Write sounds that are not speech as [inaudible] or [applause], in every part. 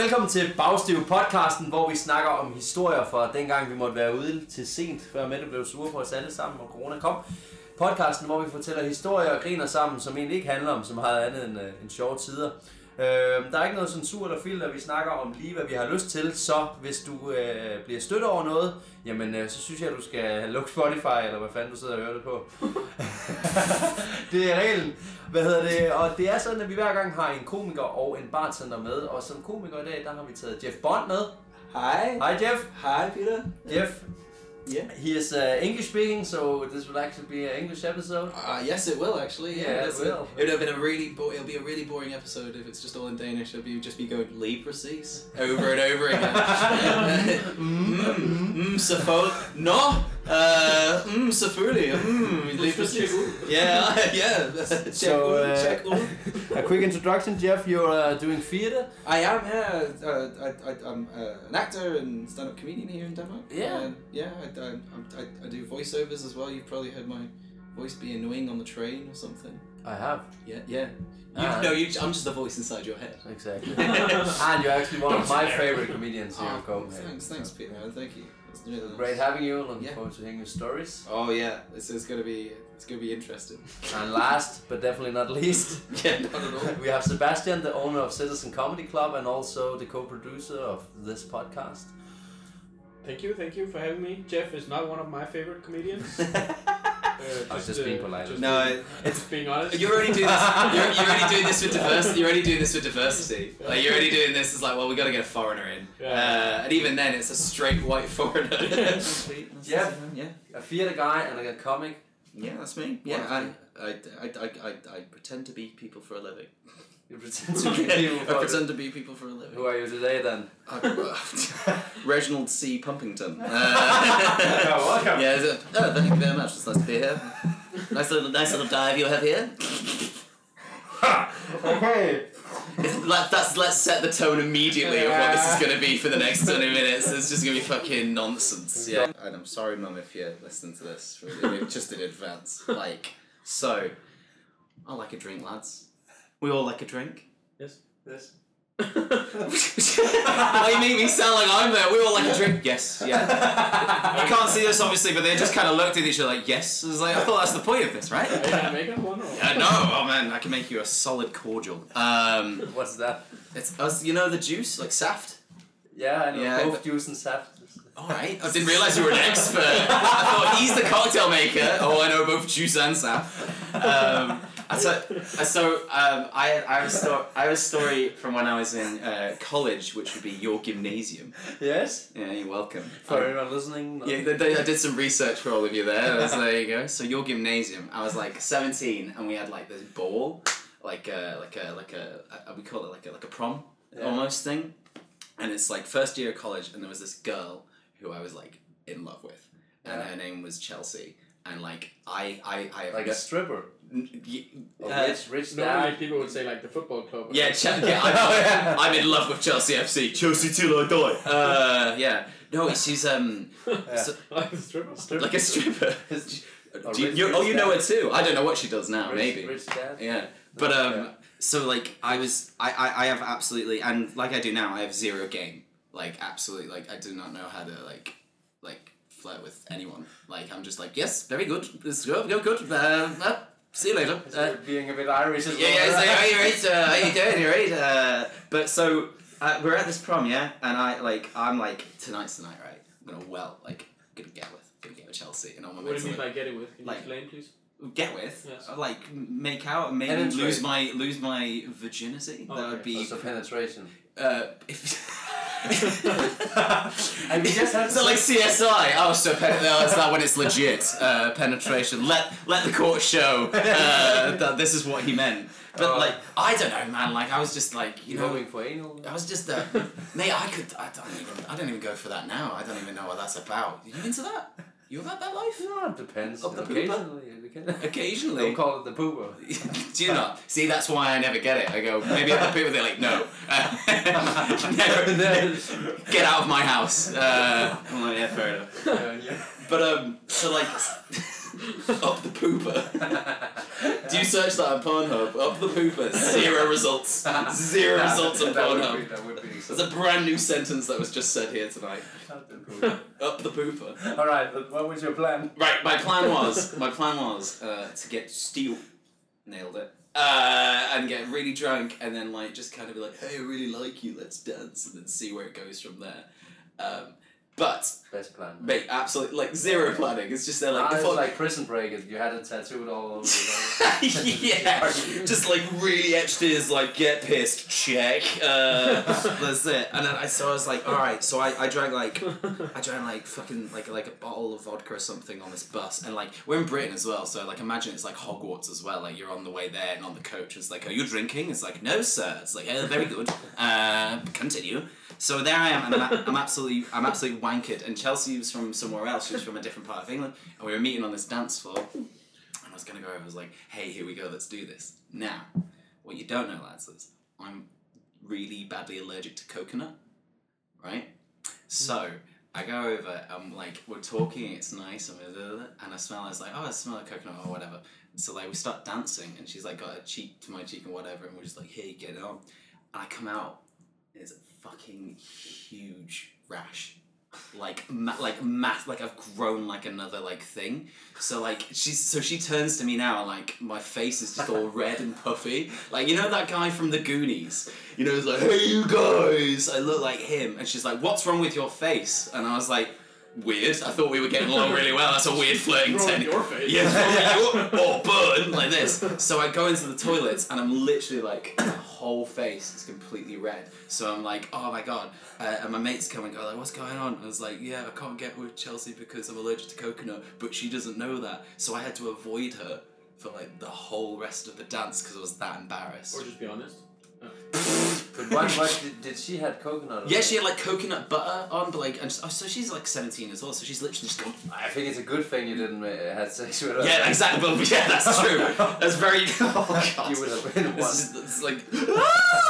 Velkommen til Bagstiv podcasten, hvor vi snakker om historier fra dengang, vi måtte være ude til sent, før Mette blev sur på os alle sammen, og corona kom. Podcasten, hvor vi fortæller historier og griner sammen, som egentlig ikke handler om så meget andet end, øh, end sjove tider. Øh, der er ikke noget censur eller filter, vi snakker om lige, hvad vi har lyst til, så hvis du øh, bliver stødt over noget, jamen øh, så synes jeg, du skal lukke Spotify, eller hvad fanden du sidder og hører det på. det er reglen. Hvad hedder det? Og det er sådan, at vi hver gang har en komiker og en bartender med. Og som komiker i dag, der har vi taget Jeff Bond med. Hi. Hej Jeff. Hi, Peter. Jeff, Yeah. he is uh, English speaking, so this will actually be an English episode. Uh, yes, it will actually. Yeah, it that's will. It would have been a really bo- it'll be a really boring episode if it's just all in Danish. It'll be just be going Lee præcis over and over [laughs] again. mm, mm, så folk. No. Uh, mm, selvfølgelig. Mm, lige præcis. Yeah, [laughs] yeah. Check So, ud, uh, check ud. A quick introduction, Jeff. You're uh, doing theater. I am, yeah. Uh, I, I, I'm uh, an actor and stand-up comedian here in Denmark. Yeah. And, yeah, I, I, I, I do voiceovers as well. You've probably heard my voice be annoying on the train or something. I have. Yeah, yeah. You, Ah. no, you, I'm just the voice inside your [laughs] head. [laughs] Exactly. and you're actually one of my favorite comedians here in Copenhagen. Oh, Ah, thanks, thanks, Peter. Thank you. It's really nice. Great having you. Looking Yeah. forward to hearing your stories. Oh yeah, this is gonna be it's gonna be [laughs] interesting. And last, but definitely not least, yeah, [laughs] not at all. we have Sebastian, the owner of Citizen Comedy Club and also the co-producer of this podcast. Thank you, thank you for having me. Jeff is not one of my favorite [laughs] comedians. uh, I was just being polite. [laughs] Just, No, being- just being honest. You're already doing this. You're, you're already doing this with diversity. You're already doing this with diversity. Like you're already doing this. It's like, well, we got to get a foreigner in, Yeah. uh, and even then, it's a straight white foreigner. Yeah. Yeah. yeah, A theater guy and a comic. yeah, that's me. Yeah, I, I, I, I, I pretend to be people for a living. [laughs] You pretend to be people. for- to be people for a living. Who are you today [laughs] then? [laughs] Uh, [laughs] Reginald C. Pumpington. Uh, Welcome, welcome. Yeah, is it- oh, thank you very much. It's nice to be here. Nice little, nice little dive you have here. [laughs] Okay. It's- Let, that's, let's set the tone immediately of what this is going to be for the next 20 minutes. It's just going to be fucking nonsense. Yeah. And I'm sorry, Mum, if you're listening to this, really, just in advance. Like, so, I like a drink, lads. We all like a drink. Yes. This. Why you make me sound like I'm there? We all like a drink. Yes, yeah. You can't see this obviously, but they just kind of looked at each other like, yes. It was like, I thought that's the point of this, right? [laughs] Can I make it one or? Uh, no, oh man, I can make you a solid cordial. Um, What's that? it's us, you know, the juice, like saft. Yeah, I know. Yeah, Both but- juice and saft. All right, I didn't realize you were an expert. I thought he's the cocktail maker. Oh, I know both juice and saft. Um, and so, and so um, I, I, have a sto- I have a story from when I was in uh, college, which would be your gymnasium. Yes? Yeah, you're welcome. For everyone listening. Yeah, they, they, I did some research for all of you there. I was, there you go. So your gymnasium, I was like seventeen, and we had like this ball, like a like a like a uh, we call it like a like a prom Yeah. almost thing, and it's like first year of college, and there was this girl who I was like in love with, and Yeah. her name was Chelsea, and like I I I have Like a stripper. n- y- Or uh, rich, rich Normally dad. people would say like the football club. [laughs] or yeah, Ch- Oh, yeah, I'm, I'm in love with Chelsea FC. Chelsea till I die. Uh, yeah. No, she's um so- [laughs] Like the stripper. like a [laughs] stripper. His- Do you, you- oh, you know her too. I don't know what she does now. rich, maybe. Rich dad. Yeah. But um, Yeah. so like I was, I, I, I have absolutely, and like I do now, I have zero game. Like absolutely, like I do not know how to like, like flirt with anyone. Like I'm just like, yes, very good, let's go, go, good. Uh, uh, see you later. Uh, Being a bit Irish as yeah, well. yeah, it's [laughs] like, are you right? Uh, how you doing? You right? Uh, but so uh, we're at this prom, yeah, and I like, I'm like, tonight's the night, right? I'm gonna well, like, gonna get with, gonna get with Chelsea, and all my What do mates you are mean like- by get it with? Can you Like- explain, [laughs] please? get with, uh, Yes. like m- make out, and maybe Penetrate. lose my lose my virginity. That Okay. would be Also [laughs] penetration. [laughs] uh, [laughs] [laughs] if. And we just had so like CSI. Oh, so pen- no, it's not when it's legit uh, penetration. Let let the court show uh, that this is what he meant. But Oh. like I don't know, man. Like I was just like [laughs] you You know. going for anal? I was just uh, mate. I could. I don't even. I don't even go for that now. I don't even know what that's about. You into that? You about that life? No, it depends. Up the pooper? Occasionally, you [laughs] can- Occasionally. Don't call it the pooper. Do you not? See, that's why I never get it. I go, maybe other people, they're like, no. [laughs] Uh, [laughs] [laughs] never, never. [laughs] Get out of my house. Uh, I'm like, yeah, fair enough. Uh, [laughs] Yeah, yeah. [laughs] But, um, so like, up the pooper. Do you search that on Pornhub? Up the pooper. Zero results. Zero That- results on that would be- Pornhub. That would be. That's a brand new sentence that was just said here tonight. Up the pooper. All right. but What was your plan? Right, my plan was my plan was uh, to get steel, nailed it, uh, and get really drunk, and then like just kind of be like, hey, I really like you, let's dance, and then see where it goes from there. Um, but Best plan. mate, absolutely like zero planning. It's just they're like, Like, if it's I- like prison break. If you had it tattooed all over. [laughs] [laughs] yeah, just like really etched is like get pissed check. Uh, [laughs] that's it. And then I so I was like, all right. So I, I drank like I drank like fucking like like a bottle of vodka or something on this bus, and like we're in Britain as well, so like imagine it's like Hogwarts as well. Like you're on the way there, and on the coach, it's like, "Are you drinking?" It's like, "No, sir." It's like, "Oh, very [laughs] good. Uh, continue." So there I am, and I'm, a- I'm absolutely, I'm absolutely wankered. And Chelsea was from somewhere else; she was from a different part of England, and we were meeting on this dance floor. And I was gonna go. I was like, "Hey, here we go. Let's do this." Now, what you don't know, lads, is I'm really badly allergic to coconut, right? So I go over, I'm like, we're talking, it's nice, and, blah, blah, blah, and I smell, it's like, oh, I smell a coconut or whatever. So like, we start dancing, and she's like, got her cheek to my cheek and whatever, and we're just like, hey, get it on. And I come out, and it's a fucking huge rash. Like, ma- like mass, like I've grown like another like thing. So like she's so she turns to me now, and like my face is [laughs] just all red and puffy. Like you know that guy from the Goonies. You know, he's like, hey you guys, I look like him, and she's like, what's wrong with your face? And I was like, weird. I thought we were getting along really well. That's a weird flirting Throw in technique. your face. Yeah, [laughs] or burn like this. So I go into the toilets and I'm literally like, my whole face is completely red. So I'm like, oh my god. Uh, and my mates come and go like, what's going on? I was like, yeah, I can't get with Chelsea because I'm allergic to coconut, but she doesn't know that. So I had to avoid her for like the whole rest of the dance because I was that embarrassed. Or just be honest. But what, what did, did she had coconut? on Yeah, it? she had like coconut butter on, but like, and just, oh, so she's like 17 as well, so she's [laughs] literally just going. I think it's a good thing you didn't uh, have sex with her. [laughs] Yeah, exactly. Well, yeah, that's true. That's very. [laughs] Oh god. You would have [laughs] been one. It's, just- it's like.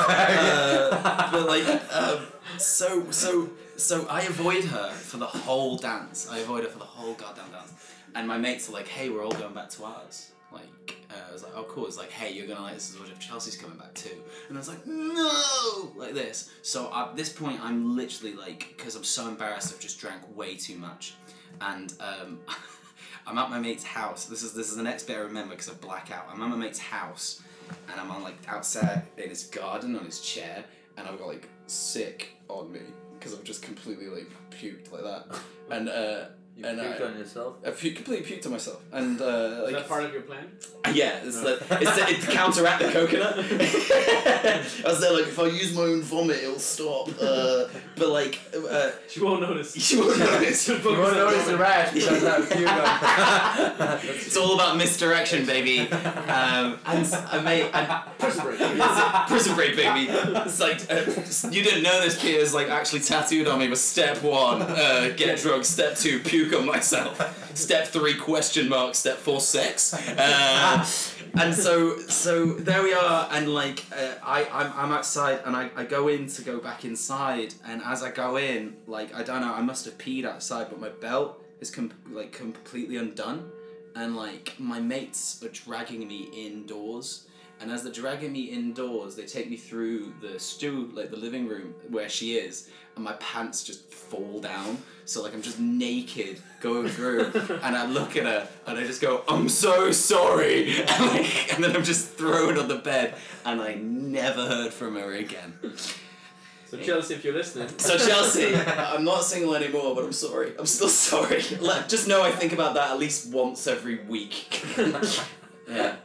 Uh, but like, um, so so so I avoid her for the whole dance. I avoid her for the whole goddamn dance. And my mates are like, "Hey, we're all going back to ours." Like, uh, I was like, "Oh, cool." It's like, "Hey, you're gonna like this as well if Chelsea's coming back too." And I was like, "No!" Like this. So at this point, I'm literally like, because I'm so embarrassed, I've just drank way too much, and um, [laughs] I'm at my mate's house. This is this is the next bit I remember because I black out. I'm at my mate's house, and I'm on like outside in his garden on his chair, and I've got like sick on me because I've just completely like puked like that, [laughs] and uh, You and puked I, on [laughs] yourself. I pu- completely puked on myself, and uh, Is like that part of your plan? [laughs] yeah, it's like it's to, it's to counteract the coconut. [laughs] I was there like if I use my own vomit, it'll stop. Uh, but like uh, She won't notice. you [laughs] won't notice. She'll You focus won't on notice the the- rash because I [laughs] have puke on. It's all about misdirection, [laughs] baby. Um, and s- I mate, and Prison break. prison break, baby. It's like uh, you didn't know this. Peter's like actually tattooed on me. Was step one, uh, get drunk. Step two, puke on myself. Step three, question mark. Step four, sex. Uh, and so, so there we are. And like, uh, I, I'm, I'm outside, and I, I go in to go back inside. And as I go in, like, I don't know, I must have peed outside, but my belt is com- like completely undone and like my mates are dragging me indoors and as they're dragging me indoors they take me through the stew like the living room where she is and my pants just fall down so like i'm just naked going through and i look at her and i just go i'm so sorry [laughs] and, like, and then i'm just thrown on the bed and i never heard from her again [laughs] So Chelsea, if you're listening. so Chelsea, I'm not single anymore, but I'm sorry. I'm still [laughs] sorry. Like, just know I think about that at least once every week. yeah.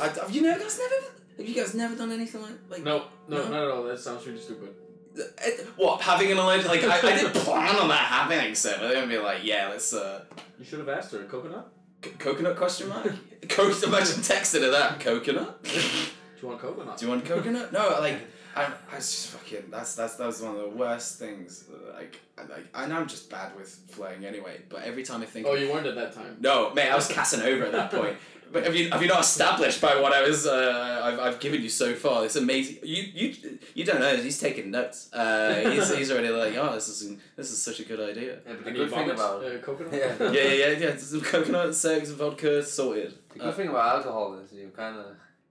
I, have you know, guys never. Have you guys never done anything like like? [laughs] No, no, No. not at all. That sounds really stupid. It- what having an alleged like I, I [laughs] didn't plan on that happening, so they're gonna be like, yeah, let's uh, You should have asked her. Coconut? c- coconut question mark. [laughs] Co- imagine texting her that coconut. Do you want coconut? Do you want coconut? No, like I, I was just fucking. That's that's that was one of the worst things. Like I- like I know I'm just bad with flirting anyway, but every time I think. Oh, you weren't at that time. No, mate, I was Casanova at that point. But have you have you not established by what I was uh, I've, I've given you so far? It's amazing. You you you don't know. He's taking notes. Uh, he's, he's already like, oh, this is this is such a good idea. Yeah, but I [laughs] the need good thing vomit, about uh, coconut. Yeah. [laughs] Yeah, yeah, yeah. yeah. Some coconut, sex, vodka, sorted. the Uh, good thing about alcohol is you kind of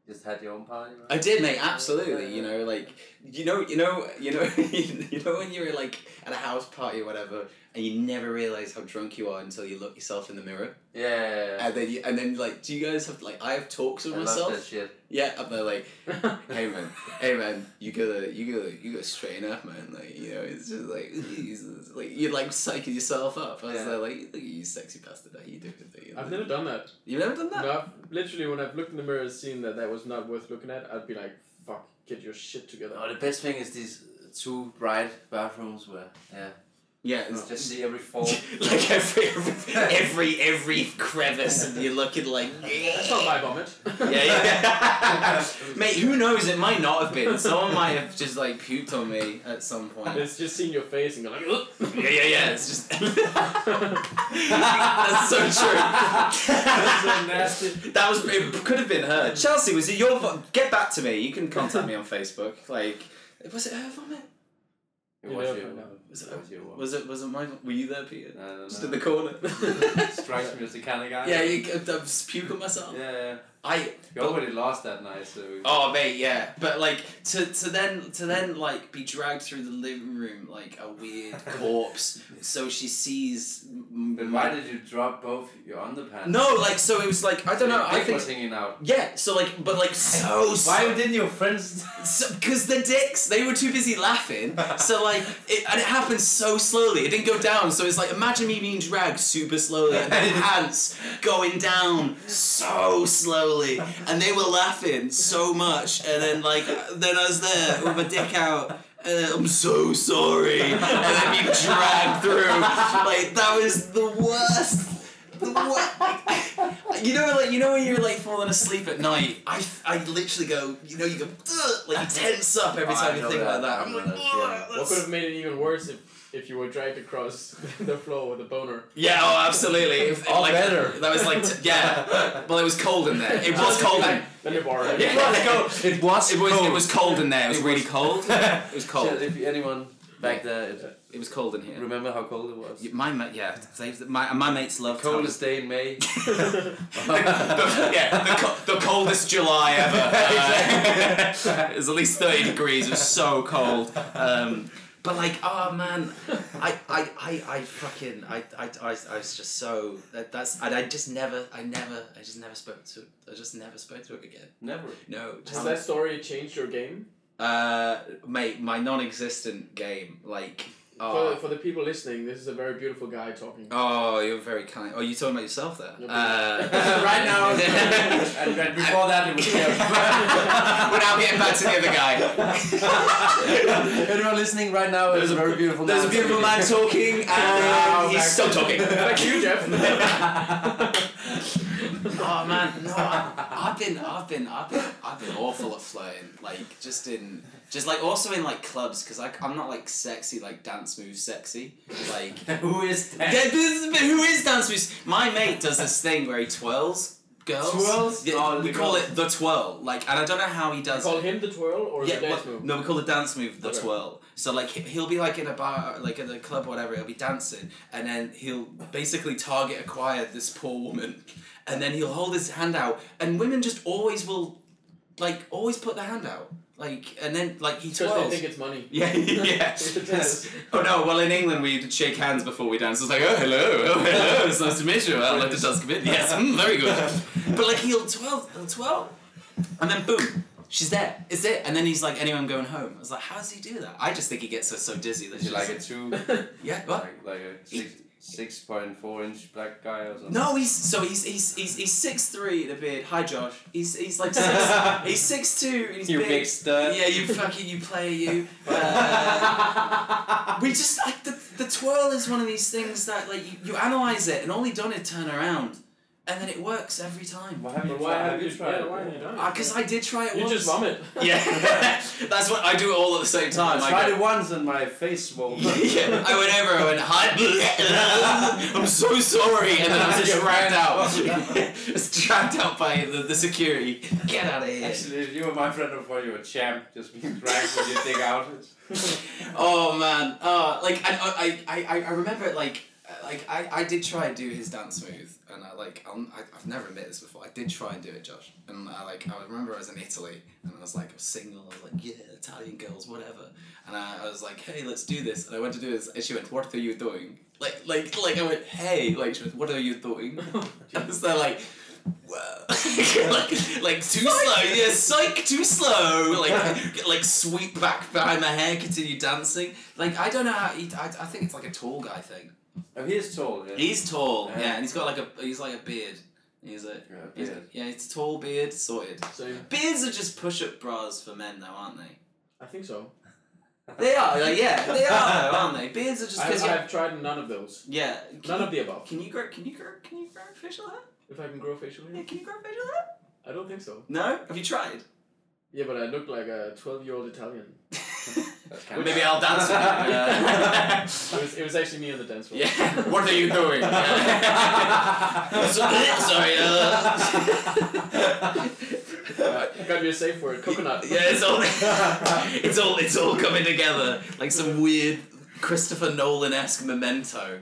just had your own party. Right? I did, mate. Absolutely. You know, like you know, you know, you know, [laughs] you know when you're like at a house party or whatever, and you never realize how drunk you are until you look yourself in the mirror, Yeah, yeah, yeah. and then you, and then like, do you guys have like I have talks with I love that myself? shit. Yeah, and they're like, [laughs] hey man, hey man, you gotta, you gotta, you gotta straighten up, man. Like you know, it's just like, Jesus. like you're like psyching yourself up. I was Yeah. there like, look at you, sexy bastard, how you doing? You know? I've never done that. You've never done that. No, I've, literally, when I've looked in the mirror and seen that that was not worth looking at, I'd be like, fuck, get your shit together. Oh, the best thing is these two bright bathrooms where yeah, Yeah, you it's just see every fall. [laughs] like every every every crevice, and you're looking like. [laughs] That's not my vomit. [laughs] Yeah, yeah. Mate, who knows? It might not have been. Someone might have just like puked on me at some point. [laughs] It's just seeing your face and going like, "Ugh." [laughs] Yeah, [laughs] yeah, yeah. It's just [laughs] that's so [laughs] true. That's so nasty. That was it. Could have been her. Chelsea, was it your? Vo- Get back to me. You can contact me on Facebook. Like, was it her vomit? It You was never your find out. one. Was It was your one. Was it? Was it my? Were you there, Peter? I don't Just know. in the corner. Strikes me as the kind of guy. [laughs] yeah, you, I'm just puking myself. Yeah, yeah. I. You already lost that night, so. Oh mate, yeah, but like to to then to then like be dragged through the living room like a weird [laughs] corpse, so she sees. But why did you drop both your underpants? No, like so it was like I don't know. Your I dick think was hanging out. yeah. So like, but like so. Why didn't your friends? Because the dicks, they were too busy laughing. So like, it, and it happened so slowly. It didn't go down. So it's like, imagine me being dragged super slowly, and the pants going down so slowly, and they were laughing so much. And then like, then I was there with my dick out. And then, I'm so sorry. And then being dragged through. Like that was the worst. The wor- you know, like you know when you're like falling asleep at night. I, I literally go, you know, you go "Ugh," [laughs] like you tense up every Oh, time I you know think that. like I that. I'm know like, that feeling. "Ugh, [laughs] What that's-" could have made it even worse if, if you were dragged across [laughs] the floor with a boner? yeah, oh, [laughs] absolutely. If, All like, better. That [laughs] was like, t- yeah. Well, it was cold in there. It was Just cold. like, In- Let me borrow it. Yeah. [laughs] [laughs] It was. it was. It was cold in there. It was It really was- cold. [laughs] It [laughs] was cold. If anyone back there is- It was cold in here. remember how cold it was. [laughs] My ma- yeah, they- my my mates love to have Coldest day in May. [laughs] the, [laughs] yeah, the, co- the coldest July ever. Uh, it was at least 30 degrees. It was so cold. Um, but like, oh man, I, I, I, I fucking, I, I, I, I was just so that, that's, and I just never, I never, I just never spoke to, I just never spoke to it again. [laughs] Never. No, Has just that story changed your game? uh, mate, my non-existent game, like, For, oh, for the people listening, this is a very beautiful guy talking. oh, you're very kind. Oh, you talking about yourself there? Yeah, but- Uh, [laughs] [laughs] Right [laughs] now, and, and before that, it was. [laughs] We're now getting back to the other guy. Anyone listening right now? There's a very beautiful. There's a man beautiful man sitting- talking, Now and um, he's back still to- talking. Back you, Jeff. [laughs] oh man, no, I, I've been, I've been, I've been, I've been awful at flirting. Like just in, just like also in like clubs, because I, I'm not like sexy, like dance move sexy. Like Who is Yeah, that? this is- but who is dance moves? My mate does this thing where he twirls girls. Twirls? Yeah, Oh, we the call girls. it the twirl. Like, and I don't know how he does. it. Call him the twirl or yeah, the dance well, move? no, we call the dance move the Okay. twirl. So like he- he'll be like in a bar, like at a club, or whatever. He'll be dancing, and then he'll basically target acquire this poor woman, and then he'll hold his hand out, and women just always will, like always put their hand out, like and then like he Because twirls. they think it's money. [laughs] [laughs] yeah, yeah. Yes. Oh no! Well, in England we shake hands before we dance. It's like, oh hello, oh hello, it's nice to meet you. I'd like to dance a bit. Yes, mm, very good. [laughs] But like he'll twirl, he'll twirl, and then boom, she's there. It's it. And then he's like, anyone going home? I was like, how does he do that? I just think he gets her so dizzy that Is she's he like a two, yeah. [laughs] What? like, like a six six point four inch black guy or something? No, he's so he's he's he's he's six three in a beard. Hi, Josh. He's he's [laughs] like six. he's six two. And he's You big. big stud. Yeah, [laughs] you fucking you play you. Uh, [laughs] we just like the the twirl is one of these things that like you, you analyze it and all he done is turn around and then it works every time. Why have you But why tried- have you tried it? it? Why have you done it? Because Uh, I did try it You once. just vomit. [laughs] Yeah, that's what I do it all at the same time. I I tried [laughs] go- it once and my face swole. [laughs] yeah, I went over, I went, hi, [laughs] I'm so sorry, and then I was just You dragged ran out. [laughs] off. just dragged out by the, the security. Get out of [laughs] here. Actually, if you were my friend before, you were champ, just being dragged with your dick out. Oh man, uh, like I, I, I, I remember it like uh, like I, I did try and do his dance move and I like I'm, I, I've never admitted this before I did try and do it Josh and I like I remember I was in Italy and I was like I was single I was like yeah Italian girls whatever and I, I was like hey let's do this and I went to do this and she went what are you doing like like like I went hey like she went what are you doing and I was there like Whoa. [laughs] like, like too slow, yeah, psych, too slow. [laughs] Like, like sweep back behind my hair, continue dancing. Like, I don't know how he. I, I think it's like a tall guy thing. [laughs] Oh, he is tall, yeah. He's tall, yeah, Yeah. and he's got like a he's like a beard. He's a Yeah, he's- beard. yeah, it's a tall beard, sorted. [laughs] Same. Beards are just push-up bras for men, though, aren't they? I think so. They are, like, yeah, they are, though, aren't they? Beards are just I, because I've tried none of those. yeah. Can None you, of the above. Can you grow? Can you grow? Can you grow facial hair? If I can grow facial hair, Yeah, can you grow facial hair? I don't think so. No. Have you tried? [laughs] Yeah, but I look like a twelve-year-old Italian. That's kinda- Maybe I'll dance [laughs] with It was, it was actually me on the dance you. [laughs] [laughs] floor. yeah. What are you doing? [laughs] [laughs] Sorry. Uh... I got your [laughs] safe word, coconut. yeah, it's all it's all it's all coming together like some weird Christopher Nolan esque memento.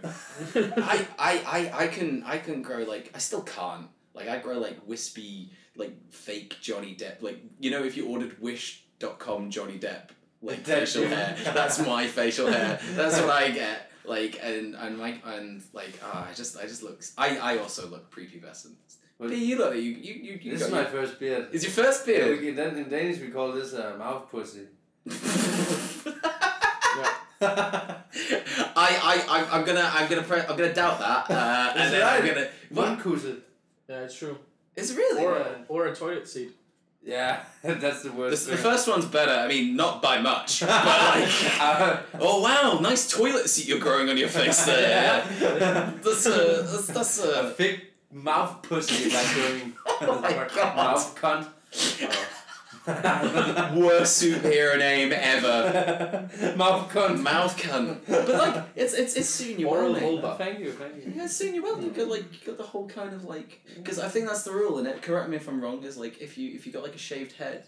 I, I, I, I can I can grow like I still can't. Like I grow like wispy, like fake Johnny Depp. Like you know if you ordered wish.com Johnny Depp like That's facial you. hair. That's my facial [laughs] hair. That's what I get. Like and and like and like ah I just I just look I, I also look prepubescent. But you look you you you, you This is got- my first beard. It's your first Yeah, beard. we- then in Danish, we call this uh, mouth pussy. [laughs] I, I, I'm, I'm gonna, I'm gonna, pre- I'm gonna doubt that, uh, [laughs] Is it and then I'm right? gonna. What? Mundkusse. [laughs] Yeah, it's true. Is it really? Or Yeah. a, or a toilet seat. Yeah, [laughs] that's the The, worst. the thing. first one's better. I mean, not by [laughs] much, but [laughs] like. Uh, Oh wow! Nice toilet seat you're growing on your face [laughs] there. yeah. That's a, that's, that's a a. big mouth pussy like doing [laughs] Oh my God. [laughs] mouth cunt. [laughs] [laughs] Oh. Worst superhero name ever. mouth cunt. Mouth cunt. But like, it's it's it's soon you Oral will, mate. hole. Thank you, thank you. Yeah, soon you will. You got like you got the whole kind of like because I think that's the rule in it. Correct me if I'm wrong. Is like if you if you got like a shaved head,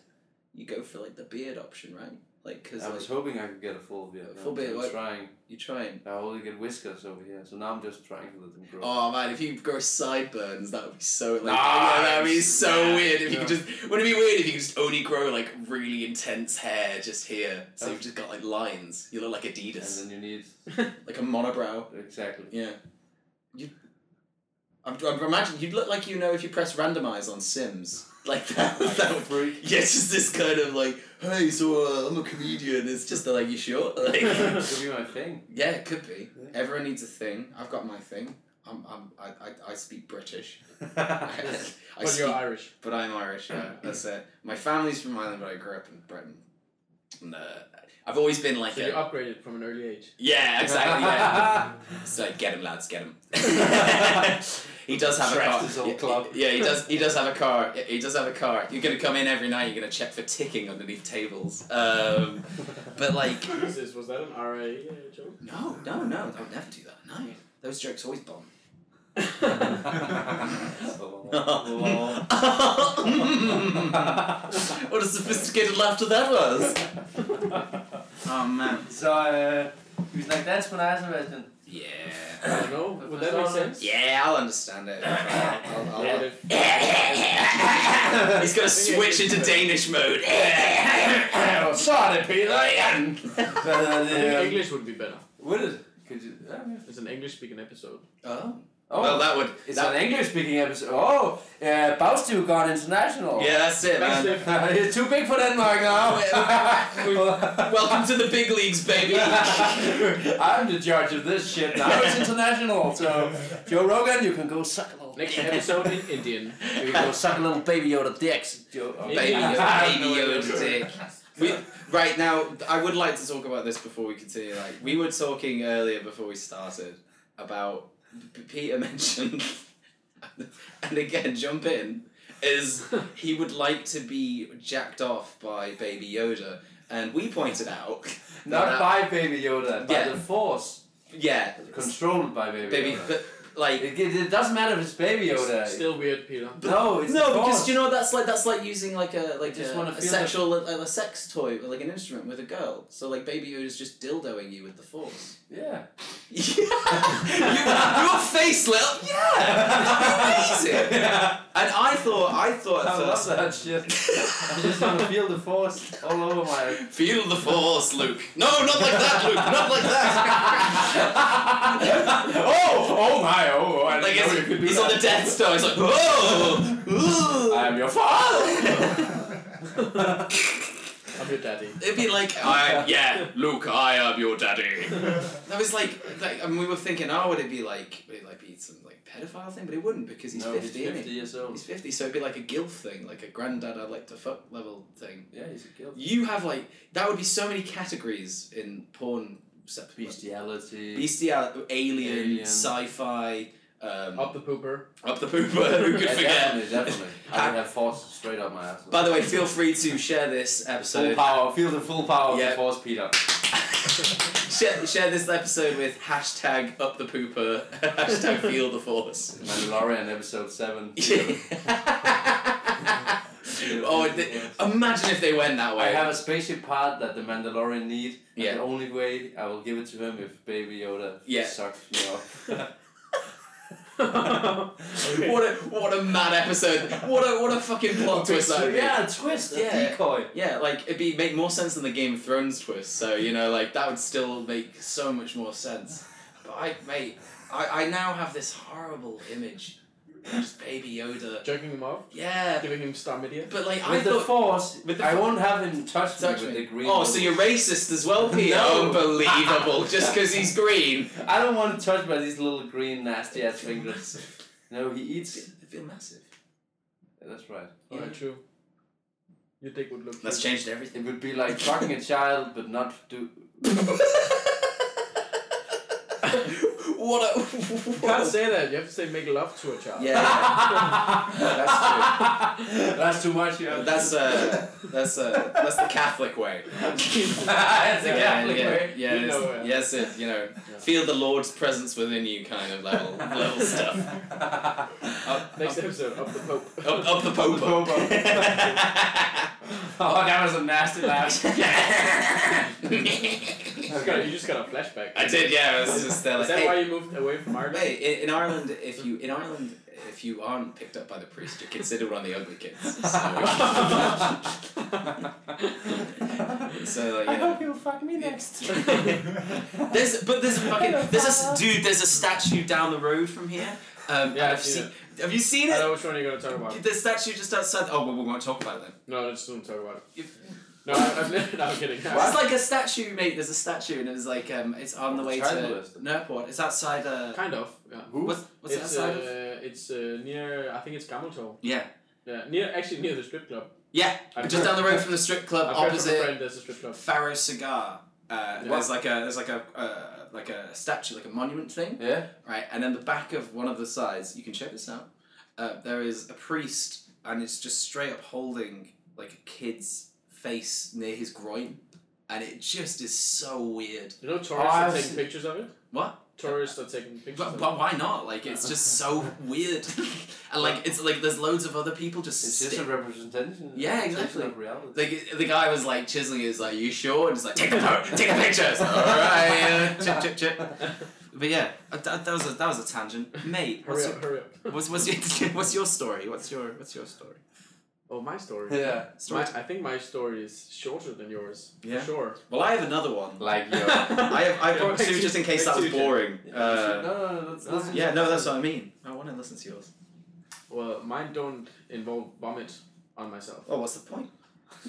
you go for like the beard option, right? Like because I was hoping I could get a full beard. A full beard, I'm what? trying. you try and I only get whiskers over here, so now I'm just trying to let them grow. oh man, if you grow sideburns, that would be so like Ah, oh, that would be it's- so yeah, weird. If you could yeah. just wouldn't it be weird if you could just only grow like really intense hair just here, so Oh. you've just got like lines. You look like Adidas, And then you need like a monobrow. exactly. [laughs] Yeah. You. I'm, I'm imagine you'd look like you know if you press randomize on Sims like [laughs] that. Like that a would, freak. yeah, it's just this kind of like, hey, so uh, I'm a comedian. It's just like you sure? [laughs] [laughs] Like, Could be my thing. yeah, it could be. Yeah. Everyone needs a thing. I've got my thing. I'm, I'm I, I, I speak British. I, But speak, you're Irish. but I'm Irish. Yeah, that's it. My family's from Ireland, but I grew up in Britain. And, uh, I've always been like So a- you upgraded from an early [laughs] age. yeah, [laughs] exactly. Yeah. [laughs] It's like get him, lads, get him. he does have a Trashed car. his old Yeah, club. Yeah, he does. He does have a car. He does have a car. You're gonna come in every night. You're gonna check for ticking underneath tables. Um, but like, Jesus, was that an RA joke? no, no, no. I would never do that. No, those jokes always bomb. [laughs] what a sophisticated laughter that was. Oh man. so uh, he was like, "That's when I was [laughs] investing." I Yeah. don't know. Would that make sense? Yeah, I'll understand [coughs] it. I'll- I'll- I'll- What [laughs] if- He's gonna switch into Danish mode. Sorry, Peter. Hvad hedder I think det? øhm, English would be better. Would um, it? Could you? ja, ja. It's an English-speaking episode. [laughs] Oh. Oh, Well, that would. it's that- an English-speaking episode. Oh, uh, Bagstue gone international. [laughs] yeah, that's it, Thanks, man. Dave. it's too big for Denmark [laughs] now. Welcome to the big leagues, [laughs] baby. [laughs] I'm the judge of this shit now. It's international. So, Joe Rogan, you can go suck a little. Next episode in [laughs] Indian. You can go suck a little baby Yoda dicks. Joe. Baby baby, I have Yoda- no baby idea. Yoda dick. We, right now, I would like to talk about this before we continue. Like we were talking [laughs] earlier before we started about P- Peter mentioned. and again, jump in, is he would like to be jacked off by Baby Yoda. And we pointed out. [laughs] Not that- by Baby Yoda, by Yeah. the Force. Yeah. Controlled by Baby, Baby, Yoda. but, like. It, it doesn't matter if it's Baby Yoda. Still weird, Peter. no, it's No, the because Force. you know that's like that's like using like a like just a, wanna a feel sexual a, a sex toy or like an instrument with a girl. So like Baby Yoda's just dildoing you with the force. [laughs] Yeah. Yeah, [laughs] you, your face lit up. Yeah, amazing. [laughs] Yeah. And I thought, I thought I at love first, that shit. I just want to feel the Force all over my. uh, feel the force, Luke. No, not like that, Luke. Not like [laughs] that. [laughs] oh, oh my, oh, I like didn't know you could it's, do he's on that. the Death Star. He's like, [laughs] whoa. ooh." I am your [laughs] father. I'm your daddy. [laughs] It'd be like, I, yeah, Luke, I am your daddy. That was like, like, I mean, we were thinking, oh, would it be like, would it like be some like pedophile thing? But it wouldn't because he's no, he's 50, isn't he? 50 years old. He's 50, so it'd be like a guilt thing, like a granddad I'd like to fuck level thing. Yeah, he's a guild. You have like, that would be so many categories in porn. sep- Bestiality. Bestiality, alien, Alien. sci fi, um, Up up, the pooper. [laughs] the pooper, [laughs] who could yeah, forget? Definitely, definitely. [laughs] I would have Force straight up my ass. By the way, feel free to share this episode. full power, feel the full power of Yeah. the Force, Peter. [laughs] share, share this episode with hashtag up the pooper, [laughs] hashtag feel the force. Mandalorian episode [laughs] 7. oh, th- [laughs] imagine if they went that I way. have a spaceship part that the Mandalorian need. and Yeah. The only way I will give it to him if Baby Yoda Yeah. sucks me [laughs] off. Okay. What a what a mad episode! What a what a fucking plot twist that So, would be. yeah, a twist, a Yeah. decoy. Yeah, like it'd be make more sense than the Game of Thrones twist. So you know, like that would still make so much more sense. But I, mate, I, I now have this horrible image, of just Baby Yoda. Jerking him off, Yeah, giving him star media. but like I With the thought. Force, with the I fo- won't have him touch, Touch me with me. the green. Oh, so you're ones. racist as [laughs] well, Peter? No. [laughs] Unbelievable! Just because he's green. I don't want to touch by these little green nasty [laughs] ass fingers. No, he eats. I feel massive. That's right. Yeah. Alright, true. Your dick would look. That's huge. changed [laughs] everything. It would be like fucking a child, but not do. [laughs] what a. [laughs] You can't say that. You have to say make love to a child. Yeah. that's true. That's too much. Yeah. That's uh, that's uh, that's the Catholic way. [laughs] that's a Yeah, Catholic yeah, way. Yeah, You it's- know, uh, yes, it, you know, Yeah. feel the Lord's presence within you, kind of level level stuff. Up, Next up, episode, up the Pope. up, up the Up the Pope. [laughs] Oh, that was a nasty laugh. [laughs] You got- [laughs] you just got a flashback. [laughs] I did, yeah. I was just there, like, Is that hey, why you moved away from Ireland? Hey, in, in Ireland, if you in Ireland, if you aren't picked up by the priest, you're considered one of the ugly kids. [laughs] [laughs] So, so like, you know. you'll fuck me [laughs] next. There's but there's a fucking there's a s- dude there's a statue down the road from here. Um, Yeah, and I've I've seen seen. Have you seen I it? know which one you're gonna talk about. The statue just outside. Oh, well, we won't talk about it then. No, let's don't talk about it. If- No, I- I'm, [laughs] no, I'm kidding. It's like a statue, mate. There's a statue, and it was like um, it's on the way to Journalist. Nurport. It's outside. Uh, Kind of. Yeah. Who? what's what's it it's outside uh, of? it's uh, near. I think it's Cameltoe. Yeah, Yeah, near actually near the strip club. yeah. I've Just heard- down the road from the strip club, I've heard from a opposite friend there's a strip club. Faro Cigar. Uh, Yeah. There's like a there's like a uh, like a statue, like a monument thing, Yeah. right? And then the back of one of the sides, you can check this out. Uh, there is a priest, and it's just straight up holding like a kid's face near his groin, and it just is so weird. You know, tourists I've are taking seen- pictures of it. Oh, What? Tourists are taking pictures. But, of but why not? Like it's [laughs] just so weird, and like it's like there's loads of other people just. It's just sti- a representation. Yeah, representation exactly. Of reality. Like the guy was like chiseling. He was like, "You sure?" And he's like, "Take a po- take a picture." It's like, [laughs] All right, uh, chip, chip, chip. But yeah, uh, that, that was a that was a tangent, mate. it. What's Hurry your, up! Hurry up! what's what's your [laughs] what's your story? What's your what's your story? Oh, my story. yeah. Story My, time. I think my story is shorter than yours. Yeah. [laughs] For sure. Well, I have another one. [laughs] Like your. I have I [laughs] brought Yeah, two just in case that was two. boring. no, Uh, no, no, that's, that's yeah, [laughs] no, that's what I mean. I want to listen to yours. Well, mine don't involve vomit on myself. Oh, what's the point? [laughs]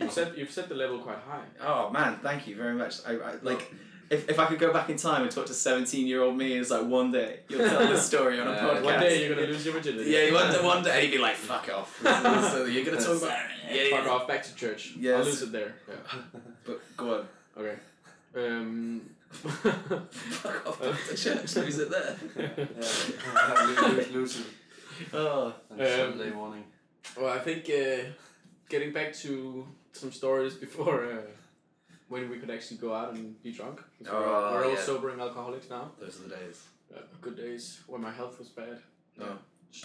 You've set you've set the level quite high. Oh man, thank you very much. I, I like. If, if I could go back in time and talk to 17 year old me, it's like one day you'll tell this story on a Yeah. podcast. Uh, One day you're gonna lose your virginity. Yeah, one [laughs] day, one day he'd be like, "Fuck off." [laughs] so you're gonna talk about [laughs] yeah, Fuck off! Back to church. I'll Yes. lose it there. Yeah. But go on. Okay. Um. [laughs] [laughs] Fuck off back to church. Lose it there. yeah. [laughs] Lose- lose- lose it. Oh. Sunday morning. Well, I think uh, getting back to some stories before uh, when we could actually go out and be drunk. 'cause we're- Oh, we're all yeah. sobering alcoholics now. Those are the days. Uh, good days when my health was bad.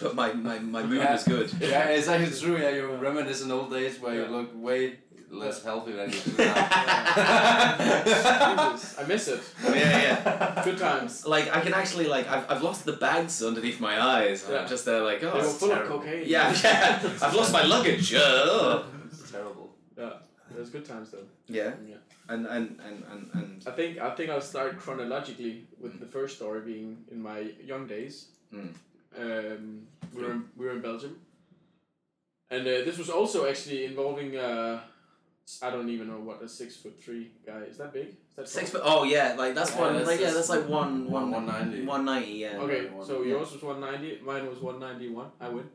But my, my, my mood Yeah. was good. Yeah, it's actually true. Yeah, you reminisce in old days where you look way less healthy than you [laughs] [laughs] do now. Jesus, I miss it. Yeah, yeah. [laughs] Good times. Like I can actually like I've, I've lost the bags underneath my eyes. and Yeah. I'm just there like oh. They were it's full terrible. of [laughs] cocaine. Yeah, [laughs] yeah. I've lost my luggage. uh. It's terrible. It was good times though. Yeah. Yeah. And and and and and I think I think I'll start chronologically with the first story being in my young days. Mm. Um, we were in, we were in Belgium, and uh, this was also actually involving uh, I don't even know what a six foot three guy is that big? Is that six tall? foot. Oh yeah, like that's Yeah, one. that's- like yeah, that's that's like one one- one 190. One ninety. Yeah. Okay, one, so yeah. yours was one ninety, mine was one ninety one. I win,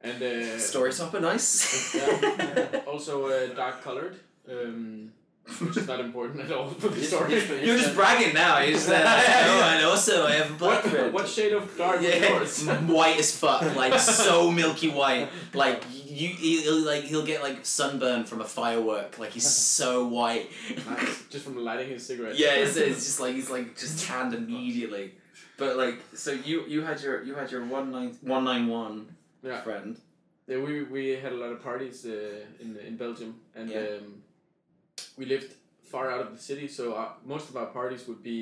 and uh, Story topper, nice. [laughs] yeah, [laughs] also uh, dark colored, um, which is not important at all for the Yes, story. yes, yes. You're [laughs] just bragging now. You're just there. Like, oh, and also I have a black what, friend. what shade of dark yeah, was yours? [laughs] white as fuck, like so milky white. Like you, he'll, like he'll get like sunburn from a firework. Like he's so white. Nice. Just from lighting his cigarette. yeah, it's, it's just like he's like just tanned immediately. But like, so you you had your you had your one nine one nine one Yeah. friend. [laughs] Yeah, we we had a lot of parties uh, in in Belgium, and Yeah. um, we lived far out of the city, so our, most of our parties would be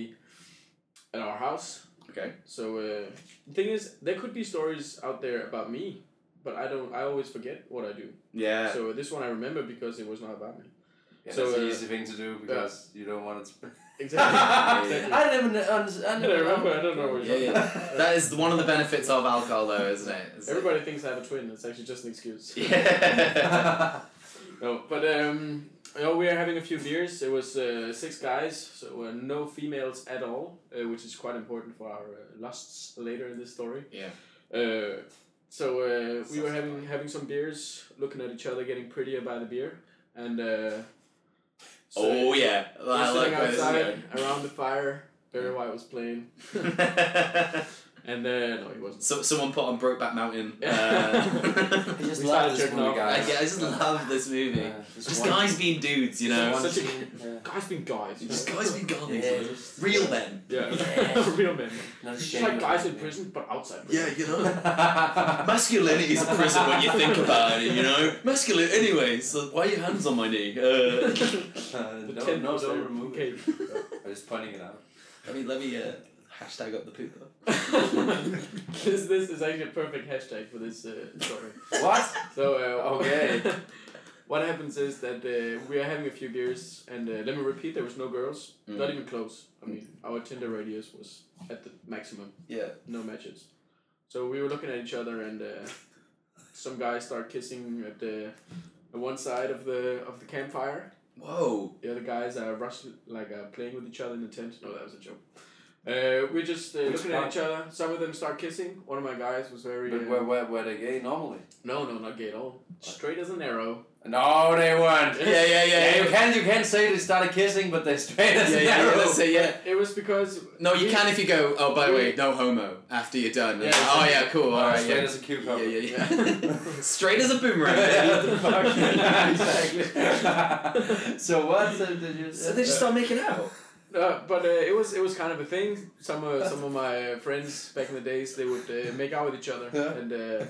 at our house. Okay. So uh, the thing is, there could be stories out there about me, but I don't. I always forget what I do. Yeah. So this one I remember because it was not about me. Yeah, So, that's an uh, easy thing to do because you don't want it. [laughs] Sp- [laughs] Exactly. exactly. I never kn- unders- I I never remember. I don't know. What yeah, you're yeah. That is one of the benefits of alcohol, though, isn't it? It's like- Everybody thinks I have a twin. It's actually just an excuse. Yeah. No, but um, you know, we were having a few beers. It was uh, six guys, so uh, no females at all, uh, which is quite important for our uh, lusts later in this story. Yeah. Uh, so uh, we were having having some beers, looking at each other, getting prettier by the beer, and uh, so oh yeah. we were I like sitting where this is outside around the fire. Barry White was playing, [laughs] going. and uh, no, he [laughs] wasn't. So, someone put on Brokeback Mountain. Uh, [laughs] [laughs] I just love We started this jerking movie, off. guys. I, yeah, I [laughs] just love this movie. Yeah, just one- guys being dudes, you know. one Such a- scene, yeah. Guys being guys. you Just know? guys being guys. Yeah, just- Real men. [laughs] Yeah, [laughs] [laughs] real men. Not It's ashamed like of guys in anything. [laughs] prison, but outside. prison. you know. [laughs] Masculinity is a prison when you think about it, you know. Masculine, anyway. So why are your hands on my knee? Uh, [laughs] Uh, The no, ten no, was don't there. remove Okay. it. I'm just pointing it out. [laughs] let me let me uh, hashtag up the poop. [laughs] this this is actually a perfect hashtag for this uh, story. What? So uh, Okay. what happens is that uh, we are having a few beers, and uh, let me repeat: there was no girls, Mm. not even close. I mean, our Tinder radius was at the maximum, Yeah. no matches. So we were looking at each other, and uh, some guys start kissing at the, at one side of the of the campfire, Whoa. the other guys are rushing, like uh, playing with each other in the tent. No, that was a joke. Uh, we're just uh, Which looking part? at each other. Some of them start kissing. One of my guys was very. But uh, were, were, were they gay normally? no, no, not gay at all. Straight as an arrow. No, they weren't. [laughs] Yeah, yeah, yeah. Yeah, you Yeah, can't you can't say they started kissing, but they straight as yeah, an yeah, arrow. that's it, yeah. It was because. No, you we- can if you go. Oh, by the way, no homo. After you're done. Yeah, oh yeah, cool. All right. straight yeah. as a Yeah, cucumber. yeah, yeah. [laughs] Straight as a boomerang. [laughs] What baby. the [laughs] fuck? exactly. [laughs] so what so did you? So they just start making out. [laughs] Uh, but uh, it was it was kind of a thing. Some uh, some of my friends back in the days they would uh, make out with each other Yeah. and uh,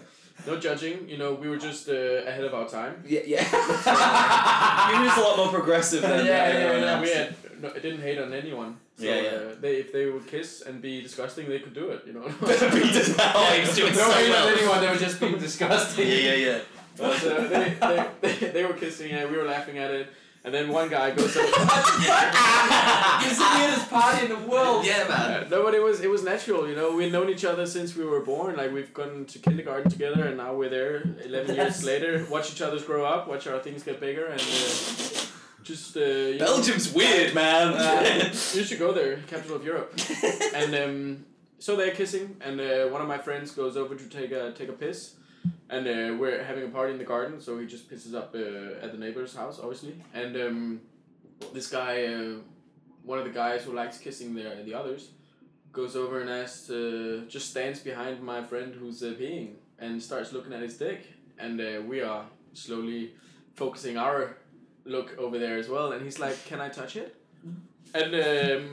no judging. You know, we were just uh, ahead of our [laughs] time. Yeah, yeah. [laughs] you was a lot more progressive than uh, Yeah, everyone yeah, else. we had no, it didn't hate on anyone. So, Yeah, yeah. Uh, they if they would kiss and be disgusting, they could do it. You [laughs] know. [laughs] Beat us now, [laughs] he was doing uh, no, so even well. anyone. [laughs] They were just being disgusting. Yeah, [laughs] yeah, But, uh, they, they, they, they were kissing and we were laughing at it. And then one guy [laughs] goes up. [laughs] yeah. This is the [laughs] weirdest party in the world. yeah, man. uh, no, but it was it was natural, you know. We've known each other since we were born. Like we've gone to kindergarten together, and now we're there eleven That's- [laughs] years later. Watch each other's grow up. Watch our things get bigger, and uh, just uh, you, know, Belgium's weird, man. Uh, you should go there, capital of Europe. and um, so they're kissing, and uh, one of my friends goes over to take a take a piss, and uh, we're having a party in the garden, so he just pisses up uh, at the neighbor's house, obviously. And um, this guy, uh, one of the guys who likes kissing the the others, goes over and asks, uh, just stands behind my friend who's uh, peeing, and starts looking at his dick, and uh, we are slowly focusing our look over there as well. And he's like, "Can I touch it?" And um,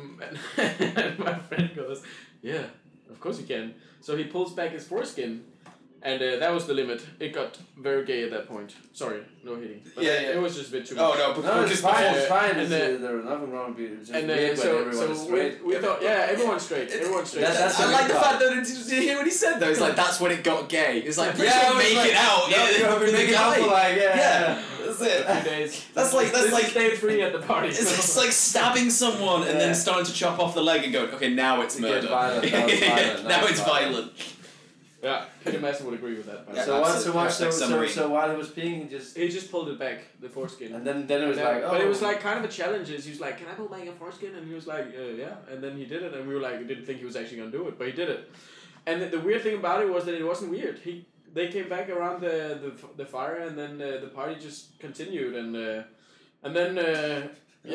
[laughs] and my friend goes, "Yeah, of course you can." So he pulls back his foreskin. And uh, that was the limit. It got very gay at that point. Sorry, no hitting. But Yeah, uh, yeah. It was just a bit too much. [laughs] Oh no, before, No, it's just fine. before. It's fine. And It's, then- uh, there's nothing wrong with it. It's just And uh, weird when so, everyone is so straight. we, we thought, yeah, everyone's straight. Everyone's straight. That- that's I what like we the got. fact that did you hear what he said though? It's like that's when it got gay. It's like Yeah, yeah, I was make like, it out. No, yeah, [laughs] you're with the making it up guy. for like, yeah. Yeah, that's a few it. days. That's like- that's This is like- day three at the party. [laughs] It's, it's like stabbing someone and Yeah. then starting to chop off the leg and going, okay, now it's It gets murder. violent, [laughs] now it's violent, now Now it's it's violent. violent. [laughs] yeah, Peter Madsen would agree with that. Yeah, so once, so absolutely. once, so, Like so, submarine. so while he was peeing, he just He just pulled it back, the foreskin. and then then it was Yeah, like, oh, but it was like kind of a challenge. Is he was like, "Can I pull back your foreskin?" And he was like, uh, "Yeah." And then he did it, and we were like, we didn't think he was actually gonna do it, but he did it. And the, the weird thing about it was that it wasn't weird. He they came back around the the, f- the fire, and then uh, the party just continued, and uh, and then uh,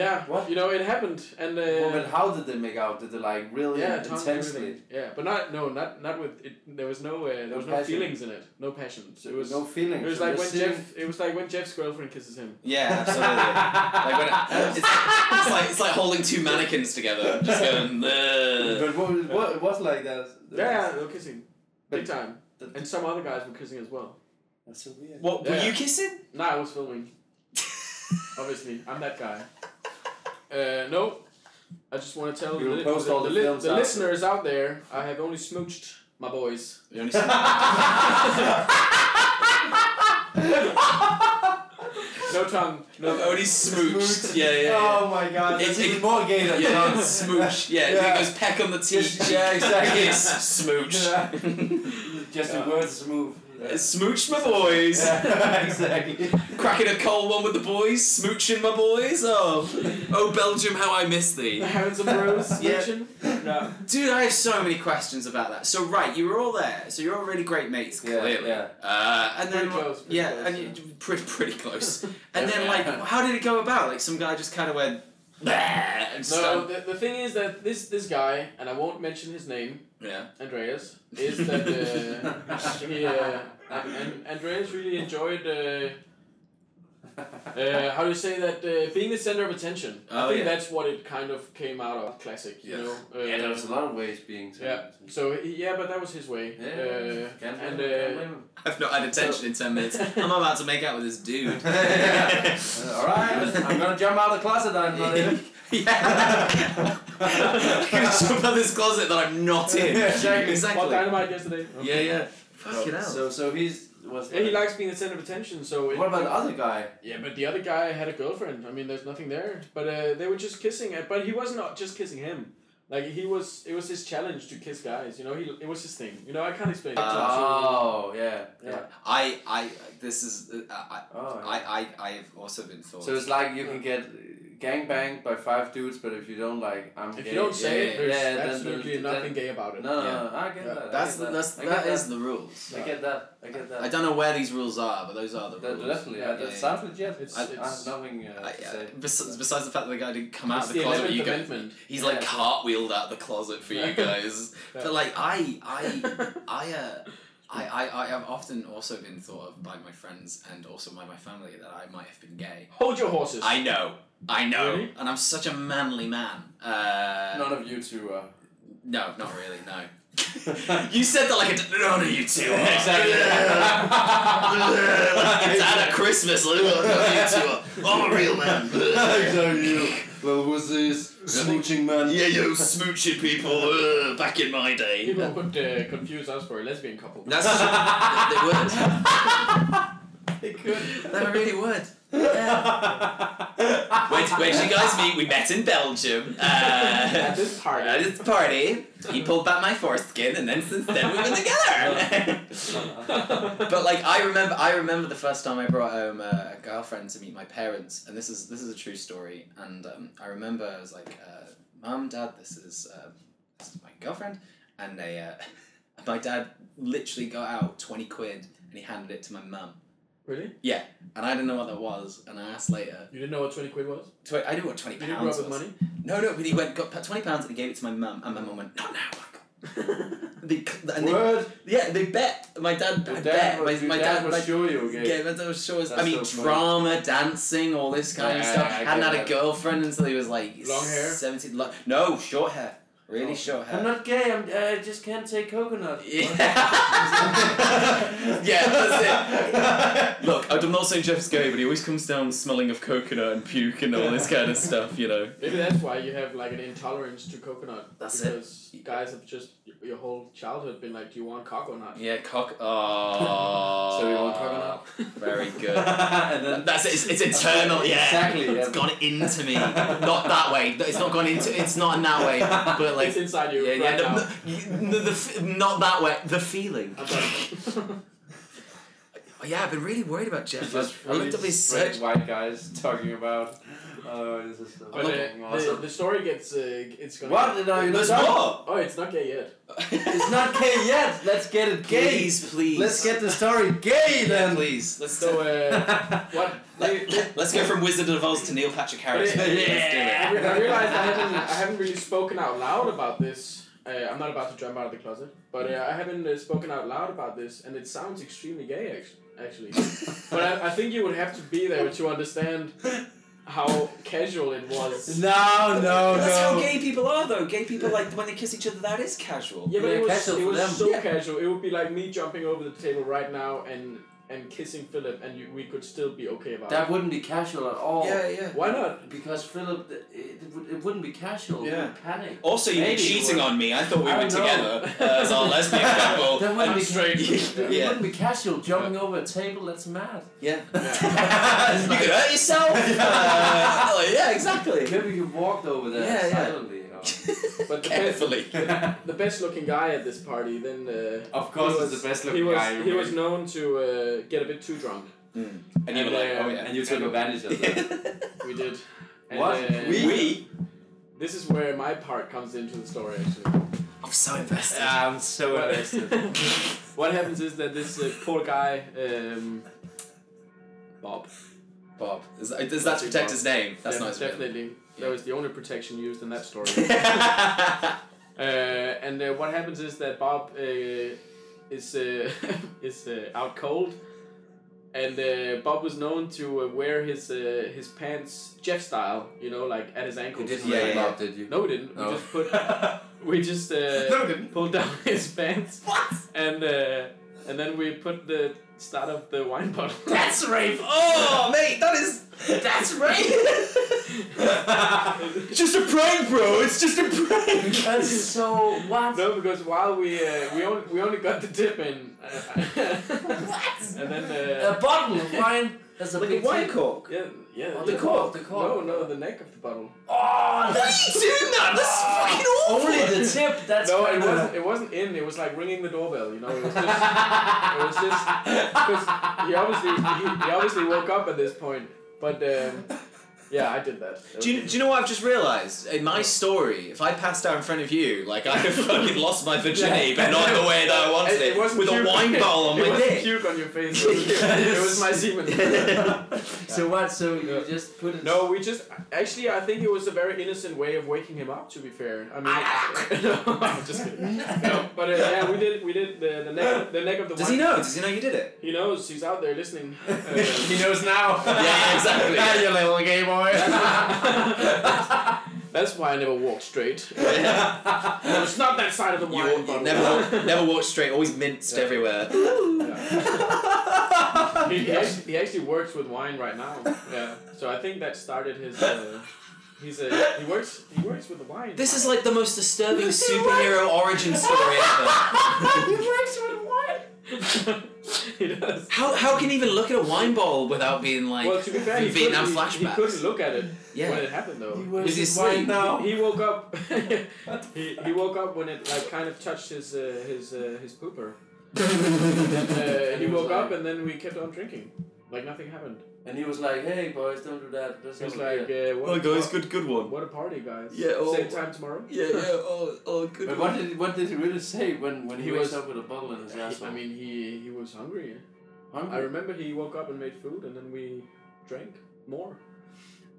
yeah, What? you know, it happened, and uh, Well, but how did they make out? Did they like really yeah, tongue, intensely? everything. yeah, but not no, not not with it. There was no uh, there No was no passion. feelings in it, no passions. It was no feelings. it was so like they're when sitting- Jeff it was like when Jeff's girlfriend kisses him. Yeah, absolutely. like when [laughs] it, it's, it's like it's like holding two mannequins together, just going. "Ugh." But what, was- what it was like that? Yeah, they were kissing. Big But- time. that- And some other guys were kissing as well. That's so weird. What were Yeah. you kissing? Nah, I was [laughs] filming. Obviously, I'm that guy. Uh, no, I just want to tell We will the, post the, all the li- films the out. listeners out there, I have only smooched my [laughs] boys. You only said- No tongue. No. I've only smooched. Yeah, yeah. yeah. Oh my god, It's- it's even it- more gay than Yeah, tongue. smooch. Yeah, Yeah. it goes peck on the teeth. Just- yeah, exactly. Kiss, smooch. [laughs] Yeah. Just Yeah. the words move. Smooch my boys. [laughs] Yeah, [laughs] exactly. Cracking a cold one with the boys. Smooching my boys. Oh, oh Belgium, how I miss [laughs] [laughs] thee. Having some bros Yeah. smooching. [laughs] No. Dude, I have so many questions about that. So right, you were all there. So you're all really great mates, Yeah, clearly. yeah. Uh, and then Pretty close, pretty yeah, close, and yeah. You, pretty pretty [laughs] close. and Yeah. then like, how did it go about? Like some guy just kind of went. "Bleh," And just No, done- the, the thing is that this this guy, and I won't mention his name, yeah. Andreas, is that uh, [laughs] he, uh, and Andreas really enjoyed uh, uh, how do you say that uh, being the center of attention i Oh, think yeah. that's what it kind of came out of classic you Yeah. know uh, yeah, there was a lot of ways being said. yeah. so he- yeah but that was his way Yeah, uh, can't blame and him, can't uh, blame him. I've not had attention in ten [laughs] minutes. I'm about to make out with this dude. Yeah. [laughs] Uh, Alright, I'm gonna jump out of the closet. I'm not in. [laughs] yeah. [laughs] I'm gonna jump out this closet that I'm not in. Yeah, exactly. Exactly. what dynamite yesterday Yeah, yeah. Fucking hell. So, so he's was. Yeah, he likes being the center of attention so it, What about the other guy? yeah but the other guy had a girlfriend i mean there's nothing there but uh, they were just kissing and- but he wasn't not just kissing him like he was it was his challenge to kiss guys you know he it was his thing you know i can't explain it Oh, yeah, yeah. I, I, this is, uh, I, Oh, yeah. I, I, I have also been thought. So it's like you can get gang banged by five dudes, but if you don't like, I'm. if gay, you don't say yeah, it there's yeah, then- then- absolutely then- nothing gay about it No, no, Yeah. no, I get Yeah. that. I that's get the, that. that's I that get is the rules. That. I get that. I get that. I don't know where these rules are, but those are the that rules. definitely. Yeah, uh, that yeah, sounds legit. It's- I, I it's- have nothing uh, I, I, to say. bes- besides the fact that the guy didn't come out It's of the, closet, Eleventh you go, Amendment. he's Yeah, like yeah. cartwheeled out the closet for you guys. Yeah. But like I, I, I, uh, I, I, I have often also been thought of by my friends and also by my family that I might have been gay. Hold your horses. I [laughs] know, I know, Really? and I'm such a manly man. Uh, None of you two are. No, not really. No. you said that like a no, no, you two. are. [laughs] Exactly. like it's out of Christmas. Like, "Oh, no, you two. are. I'm a real [laughs] man. [laughs] you little wussies, smooching man. yeah, yo, smooching people. uh, back in my day. People could uh, confuse us for a lesbian couple. [laughs] That's true. They could. They [laughs] would. They really would. Where where'd you guys meet? We met in Belgium. At Uh, this party. at this party, he pulled back my foreskin, and then since then we've been [laughs] together. But like I remember, I remember the first time I brought home a, a girlfriend to meet my parents, and this is this is a true story. And um, I remember I was like, uh, "Mom, Dad, this is uh, this is my girlfriend," and they, uh, [laughs] my dad literally got out twenty quid and he handed it to my mum, really? and I didn't know what that was, and I asked later. You didn't know what 20 quid was? Tw- I knew what twenty You didn't grow pounds up was. with money? No, no, but he went got twenty pounds and he gave it to my mum, and my mum went, "Not now." [laughs] They, c- and they, Word. yeah, they bet. My dad, Your I dad bet. will- My, your my dad dad, will my show you, okay? Yeah, but that was sure. That's I so mean, funny. drama, dancing, all this kind of Yeah, stuff. I get Hadn't had a that. girlfriend until he was like Long hair? seventeen. Lo- no, short hair. Really short hair. I'm [laughs] not gay. I'm, uh, I just can't say coconut. yeah. [laughs] yeah, that's it. Look, I'm not saying Jeff's gay, but he always comes down smelling of coconut and puke and all this kind of stuff. You know. Maybe that's why you have like an intolerance to coconut. That's it. because guys have just y- your whole childhood been like, do you want cock or not? Yeah, cock. [laughs] Oh. So you want coconut? Very [laughs] good. and then That- That's it. It's, it's internal. Yeah, Exactly, It's yeah. gone into me. Not that way. It's not gone into. It's not in that way. But like. it's inside you yeah, right yeah. now. [laughs] The, the, the, f- not that way. The feeling. I'm sorry. [laughs] Oh, yeah, I've been really worried about Jeff. I, I looked up his straight search. white guys talking about. Oh, this is so but fucking uh, the, awesome. the story gets uh, it's gonna. What? No, you There's looked up? more. Oh, it's not gay yet. It's not gay yet. Let's get it gay. [laughs] Please, please. Let's get the story Yeah, gay then. please. Let's [laughs] So uh, what? they- they- let, us go from Wizard of Oz to Neil Patrick Harris. Yeah. Let's do I, it. re- I realized I haven't, I haven't really spoken out loud about this. Uh, I'm not about to jump out of the closet, but uh, I haven't uh, spoken out loud about this, and it sounds extremely gay, [laughs] actually. actually. but I, I think you would have to be there to understand how casual it was. No, no, That's how no. gay people are, though. Gay people like when they kiss each other. That is casual. Yeah, but Yeah, it was, casual it for was them. so Yeah. casual. It would be like me jumping over the table right now and and kissing Philip, and you, we could still be okay about That wouldn't be casual at all. Yeah, yeah. it. Why not? Because Philip, it, it, would- it wouldn't be casual. It Yeah. would panic. Also, you were Maybe you cheating were. on me. I thought we I were don't know. together uh, [laughs] as our lesbian couple. That wouldn't I'm be straight. It Yeah. wouldn't be casual jumping over a table. That's mad. Yeah. Yeah. It's you like- could hurt [laughs] yourself. Uh, yeah, exactly. Maybe you walked over there Yeah, yeah. silently. or- But the best, Carefully. the best looking guy at this party, then. Uh, [laughs] Of course, he it's was- the best he looking was, guy. you He meet. was known to uh, get a bit too drunk. And you were like, oh yeah. And you took advantage [laughs] of that. We did. And, What? uh, We? We? This is where my part comes into the story, actually. I'm so invested. I'm so [laughs] What, what happens is that this uh, poor guy, um, Bob. Bob. Is that, is that to protect his name? That's def- not his real name. Definitely. Yeah. That was the only protection used in that story. [laughs] uh, and uh, what happens is that Bob uh, is uh, [laughs] is uh, out cold, and uh, Bob was known to uh, wear his uh, his pants Jeff style, you know, like at his You ankles. didn't Yeah, yeah, yeah. Bob, did you? No, we didn't. No. We just put [laughs] we just uh, Oh. [laughs] No, we didn't. pulled down [laughs] his pants, What? and uh, and then we put the start of the wine [laughs] bottle. That's rape. Oh, mate, that is. That's rape. just a prank, bro. It's just a prank. That's so what? No, because while we uh, we only we only got the tip in, uh, [laughs] and then A uh, bottle of wine. That's a Like a big wine tip. cork. yeah yeah Oh, yeah. the cork, the No, cork. no, the neck of the bottle. Oh, Why are you doing that? That's fucking awful. only the tip. That's No, it kinda- wasn't. It wasn't in. It was like ringing the doorbell. You know, it was [laughs] just. it was just because he obviously he, he obviously woke up at this point. But um, yeah, I did that. Do you, do you know what I've just realised? In my story, if I passed out in front of you, like I have fucking lost my virginity, but not the way that I wanted it, It, it wasn't with a puke. wine bottle on [laughs] it my wasn't dick. puke on your [laughs] face. It was, it was my semen. So what? So you Yeah. just put it. no, we just actually I think it was a very innocent way of waking him up. To be fair, I Ah. mean, [laughs] no, I'm just kidding. [laughs] No, but uh, yeah, we did we did the, the neck the neck of the Does wine. he know? Does he know you did it? He knows. He's out there [laughs] listening. Uh, knows [laughs] now. yeah, exactly. Now you little gay That's why I never [laughs] walk straight. Yeah. No, it's not that side of the You, wine you [laughs] bottle. never, walk, never walked straight. Always minced Yeah. everywhere. [laughs] he, he, actually, he actually works with wine right now. Yeah. So I think that started his. Uh, he's a he works he works with the wine. [laughs] This is like the most disturbing superhero origin story ever. he works with wine. [laughs] he does. How, how can he even look at a wine bottle without being like Well, to be fair, he Vietnam couldn't, he- He flashbacks? couldn't look at it Yeah. [laughs] when it happened though. He works he with wine asleep? now. He woke up. [laughs] he, he woke up [laughs] when it like kind of touched his uh, his uh, his pooper. [laughs] Uh, he he was woke up like- and then we kept on drinking, like nothing happened. And he was like, "Hey boys, don't do that." Let's He was have a like, beer." uh, what, good, good one. what a party, guys! Yeah, oh. Same time tomorrow. [laughs] Oh, oh, good. But what did what did he really say when when he, He wakes was- up with a bottle in his asshole? I mean, he he was hungry. I hungry. remember he woke up and made food, and then we drank more.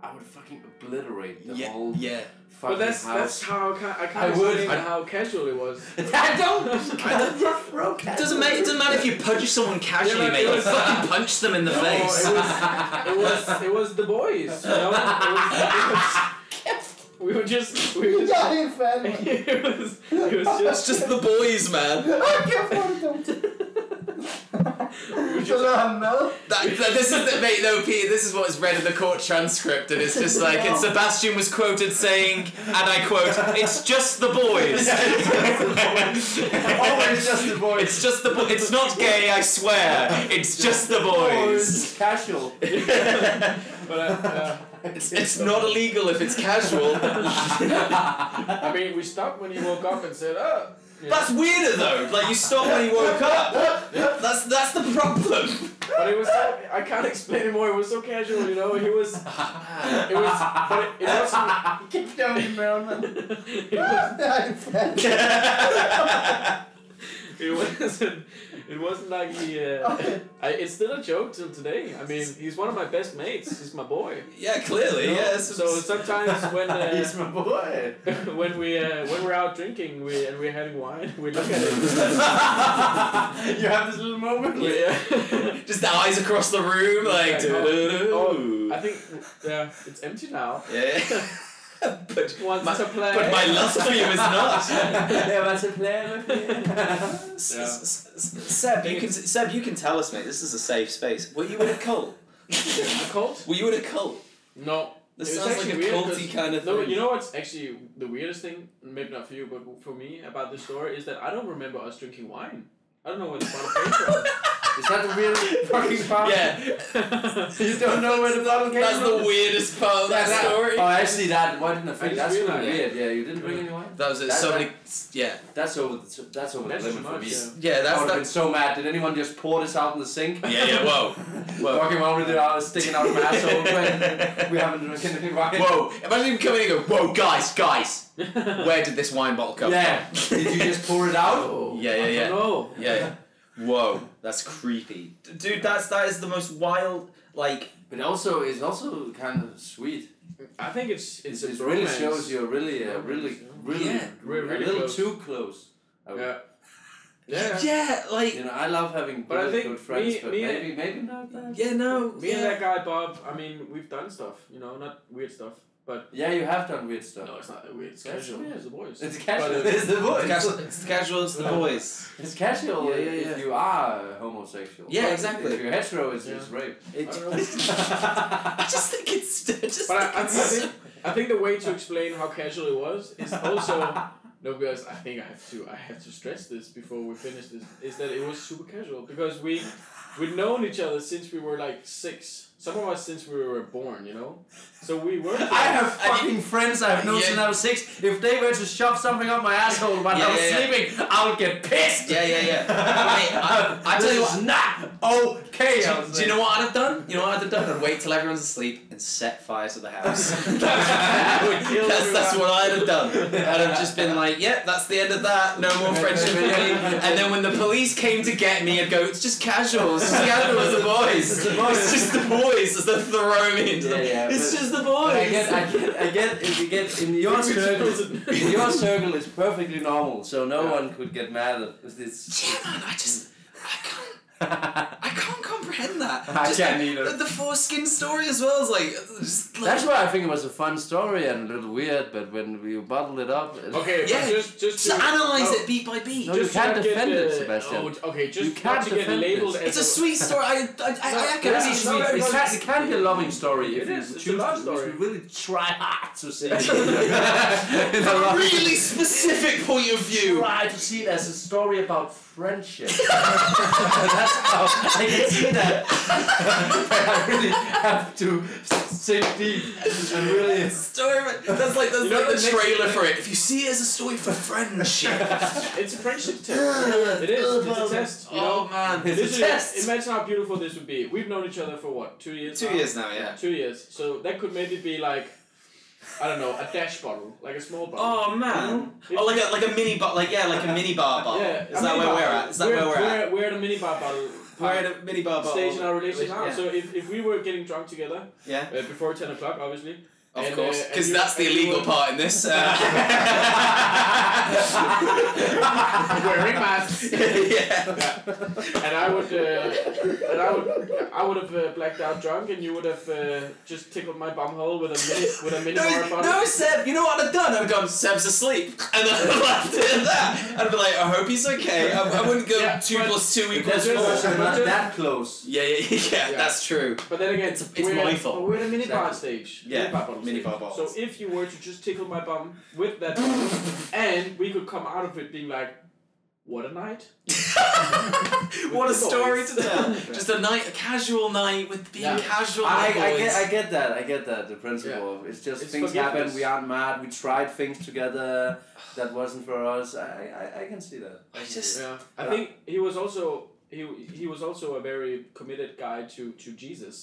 I would fucking obliterate the yeah, whole yeah. fucking But that's that's house. how ca- I kind I of would- explained I- how casual it [laughs] was. [laughs] I don't. I don't- Rough road casual. Doesn't matter. It doesn't matter if you punch someone casually, Yeah, but mate. You it was- [laughs] fucking punch them in the No, it face. [laughs] was- Oh, It was it was the boys. You know? It was- [laughs] it was- we were just we were just. Giant fan. [laughs] it was it was It's just just the boys, man. I can't afford them. Så lader han mad. That, that- this is the, mate, no, Peter. This is what's read in the court transcript, and it's just [laughs] like, and Sebastian was quoted saying, and I quote, "It's just the [laughs] boys." Always just the [laughs] boys. [laughs] It's just the. Bo- it's not gay. I swear. It's just the boys. Boys. [laughs] Casual. [laughs] but uh, uh, It's, it's not illegal if it's [laughs] casual. I mean we stopped when you woke up and said oh you know. That's weirder though. Like you stopped when you woke up. That's that's the problem. [laughs] but it was so, I can't explain it more it was so casual you know he was it was but it, it wasn't Kæft, jeg var i maven, mand. [laughs] it was Giant fan. it wasn't it wasn't like he uh, I, it's still a joke till today I mean he's one of my best mates he's my boy Yeah, clearly. you know? Yeah. it's- so sometimes when [laughs] uh, He's my boy. when we uh, when we're out drinking we and we're having wine we look at it you have this little moment. we, just the eyes across the room, like. Yeah, no. "Doo-doo-doo." I think yeah, it's empty now. Yeah. [laughs] but Once my, it's a play. but my lust for you is [laughs] not. Jeg var til flere med S- s- s- Seb, you can Seb, you can tell us, mate. This is a safe space. Were you in a cult? a cult? [laughs] Were you in a cult? No. This It was sounds like a actually weird 'cause- culty kind of thing. No, you know what's actually the weirdest thing, maybe not for you, but for me about this story is that I don't remember us drinking wine. I don't know where the bottle came [laughs] from. [laughs] Is that the real [laughs] fucking part? Yeah, You don't know where the bottle came that's from? the weirdest part of that, that- story. Oh, actually, that why didn't I I think just that's really realized. weird. Yeah, you didn't bring anyone. That was it. That- So that- many. Yeah, That's over the t- that's over That's the too limit for much. me. Yeah. yeah. I That's would have been that. so mad. Did anyone just pour this out in the sink? Yeah, yeah. Whoa, whoa. [laughs] Walking around with it out, sticking out of my asshole. when we haven't drank anything right. Whoa! Imagine him coming in and go, "Whoa, guys, guys! Where did this wine bottle come Yeah. [laughs] Did you just pour it [laughs] out? from?" Yeah, yeah, I yeah, don't know. yeah. Whoa, that's creepy, D- dude. That's that is the most wild. Like, But also, it's also kind of sweet. I think it's it's It's, a it really bromance. shows you're really, uh, Romance, really, yeah. really, Yeah, we're really a little close. too close. I would- Yeah. Yeah. [laughs] like, You know, I love having But I really think good friends, me- but me and- maybe, maybe not that. yeah, no, Me and that guy Bob, I mean, we've done stuff, you know, not weird stuff. But Yeah, you have done weird stuff. no, it's not weird. It's That's casual. weird. It's the boys. It's [laughs] casual. But, uh, it's the voice. It's casual, it's casual, [laughs] it's the boys. It's casual Yeah, yeah, if yeah. you are homosexual. Yeah, But exactly. If you're hetero, it's, it's Yeah. rape. I don't know. [laughs] I just think it's. I just But I, think I, I, it's so- think, I think the way to explain how casual it was is [laughs] also no, because I think I have to I have to stress this before we finish this is that it was super casual because we we'd known each other since we were like six. Some of us since we were born, you know. So we were. I have I mean- fucking friends I've known Yeah. since I was six. If they were to shove something up my asshole while Yeah, I was yeah, yeah. sleeping, I would get pissed. Yeah, yeah, yeah. Mate, I- I [laughs] tell this you is what- not okay. I was Do you know what I'd have done? You know what I'd have done? I'd wait till everyone's asleep and set fire to the house. [laughs] [laughs] that's, that's what I'd have done. I'd have just been like, yep, that's the end of that. No more friendship for me. And then when the police came to get me, I'd go, it's just casual. It's just casual. It's the boys. It's the boys. It's just the boys. As they throw me into the. Yeah, yeah, it's but- just the But boys. I get, I get, I get. If you get in [laughs] your circle, in your circle is perfectly normal, so no Yeah. one could get mad at this. [laughs] Yeah, man, I just. I can't. That's I can't comprehend that. I Just can't the- either. The, the foreskin story as well is like, just like why I think it was a fun story and a little weird, but when we bottled it up, it- Okay, Yeah. but just just just to, analyze no, it beat by beat. Oh. No, you Just to can't not get, defend it, uh, Sebastian. Oh, okay, just You can't not to get defend labeled this. as It's a sweet story. I I I, I, I can Yeah, see It's sweet. It sweet. no, no, It's, no, can, it can be a loving story It if you is. It's a choose love to, story. If you really try hard to [laughs] see [laughs] it. It's a a really specific point of view. Try to see it as a story about friendship. [laughs] That's how I can see that. [laughs] but I really have to sink deep and really. Story. of- That's like that's You know like the the next- trailer for it. If you see it as a story for [laughs] friendship, It's a friendship test. it is. It's a test. You know. oh man, It's a Literally, test. Imagine how beautiful this would be. We've known each other for what, two years? now? now, Two years. So that could maybe be like, I don't know, a dash bottle, like a small bottle. Oh man. Oh, like a like a mini bar, like yeah, like a mini bar bottle. Mm-hmm. yeah. Is a that where mini we're bar. at? Is that where we're at? We're at a mini bar bottle. We're at a mini bar. bar- stage in our relationship now. Yeah. So if, if we were getting drunk together yeah. uh, before ten o'clock, obviously. Of And, uh, course, and because you- that's the and you illegal were- part in this. Uh, [laughs] [laughs] Wearing masks. yeah. Yeah. And I would, uh, and I would, I would have uh, blacked out drunk, and you would have uh, just tickled my bum hole with a mini, with a mini bar No, bottle. no, Seb, you know what I've done? I've gone, Seb's asleep. And then I left it at that. I'd be like, I hope he's okay. I, I wouldn't go Yeah, 2 but- plus 2 equals Because But 4. we're there's also- also not but- that close. Yeah, yeah, yeah, Yeah. that's true. But then again, It's- it's we're my at, fault. But we're at a mini bar stage. Yeah, mini bar bottle mini stage. bar bottles. So if you were to just tickle my bum with that, bottle, and we could come out of it being like, "What a night!" what a the story boys. to tell. Just a night, a casual night with being Yeah. casual. I, with the I, boys. get, I get that. I get that. The principle. of It's just It's things forgiveness. happen. We aren't mad. We tried things together that wasn't for us. I, I, I can see that. I just- Yeah, I Yeah. think he was also he he was also a very committed guy to to Jesus.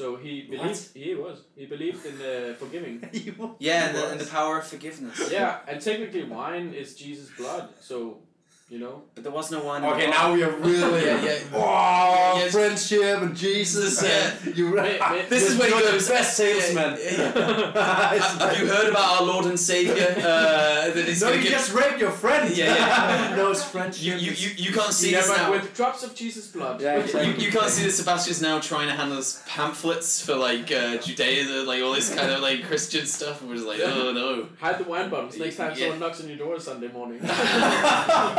So he believed he was he believed in [laughs] uh, forgiving. [laughs] You- yeah, and the, and the power of forgiveness. yeah, and technically wine is Jesus' blood. So you know. But there was no wine. in the Okay, bar. now we are really. [laughs] Yeah, [laughs] yeah. Wow, Yes. friendship and Jesus. Yeah. and you. Wait, [laughs] wait, This is You're when he the goes. best yeah, salesman. yeah, [laughs] yeah. It's- Have have you heard about our Lord and Savior? Uh, that he's no, gonna you give just raped your friend. [laughs] Yeah, yeah. no, it's friendship. you, you, [laughs] you, [laughs] you can't see Yeah, this but now. with drops of Jesus' blood. Yeah, Which- exactly. You, you can't see that Sebastian's now trying to handle his pamphlets for like uh, Judaism, like all this kind of like Christian stuff, and we're just like, oh no. Hide the wine bottles next time Yeah. someone knocks on your door Sunday morning. [laughs] [laughs]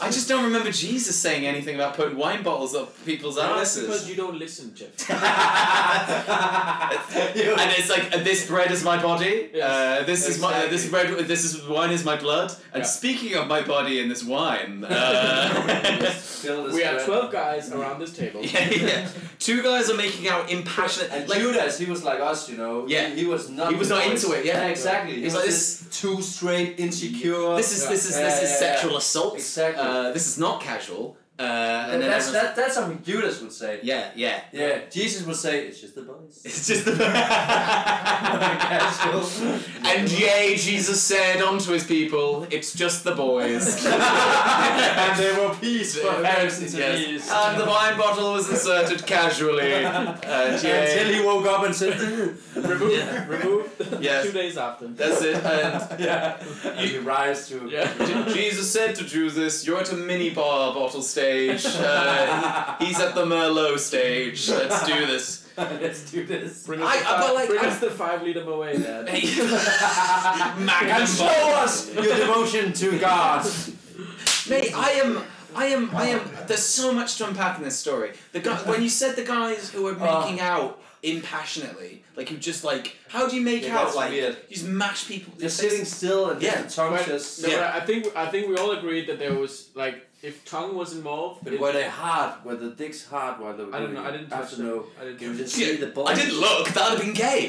I just don't remember Jesus saying anything about putting wine bottles up people's No, that's because asses. you don't listen, [laughs] Jeff. [laughs] You- And it's like uh, this bread is my body. Uh, Yes, this is my uh, this exactly. bread. This is wine is my blood. And Yeah. speaking of my body and this [laughs] wine, uh, [laughs] Fill this we are bread. twelve guys around this table. yeah, yeah. Two guys are making out impassionate. And like, Judas, he was like us, you know. He- Yeah. He, was not. He was the not boys. into it, yeah. exactly. He He's was like, this too straight, insecure. This is this is Yeah, this yeah, is yeah. sexual assault. Exactly. Uh, this is not casual. Uh, and then that's everyone's- that, that's something Judas would say. Yeah, yeah. Yeah, Jesus would say, [laughs] "It's just the [laughs] [laughs] boys." It's just the Casual. And yea, Jesus said unto his people, "It's just the [laughs] boys." and and there were peace for parents and yes. And the wine bottle was inserted casually. [laughs] Uh, And Until yea. he woke up and said, "Mm." Remove, Yeah. remove. Yes. Two days after. That's it. And yeah. And he rise to. Yeah. [laughs] J- Jesus said to Drusus, "You're at a mini bar bottle stage. Uh, he's at the Merlot stage. Let's do this." Let's do this. Bring I- us, I- the, five, but, like, bring I- us the five liter Moët, [laughs] Dad. Magnum [laughs] and show bottle. us your devotion to God. Mate, I am. I am. I am. There's so much to unpack in this story. The guy, when you said the guys who were Oh. making out impassionately, like who just like, how do you make Yeah, out? that's Like, weird. you just mash people. in the [laughs] Just face. sitting still and Yeah. just the tongue But- just. No, Yeah. but I think I think we all agreed that there was like if tongue was involved, But it- were they hard? Were the dicks hard while they were I don't doing know. it? I didn't I touch don't them. know. I didn't Can you touch just Yeah. see the [laughs] balls? I didn't look. That would have been gay.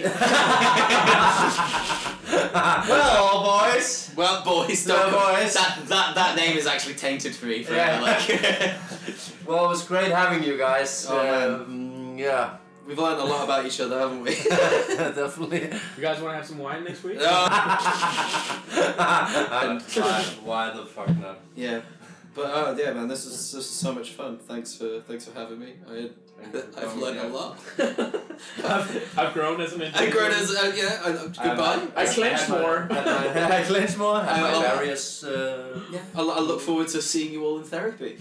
[laughs] well, boys. [laughs] well, boys, Well, don't. come- boys. That that that name is actually tainted for me. For Yeah. [laughs] like, Well, it was great having you guys. Oh, man. um, yeah, we've learned a [laughs] lot about each other, haven't we? [laughs] [laughs] definitely. them. You guys want to have some wine next week? [laughs] No. [laughs] And why, why the fuck not? Yeah. But oh yeah, man, this is this is so much fun. Thanks for thanks for having me. I Thank you for I've coming, learned yeah. a [laughs] lot. [laughs] I've, I've grown as an I individual. grown as uh, yeah. I, I- goodbye. I clenched had my- [laughs] more. had my- I clenched more. Had I- my I'll- various. Uh, [laughs] yeah, I, I look forward to seeing you all in therapy.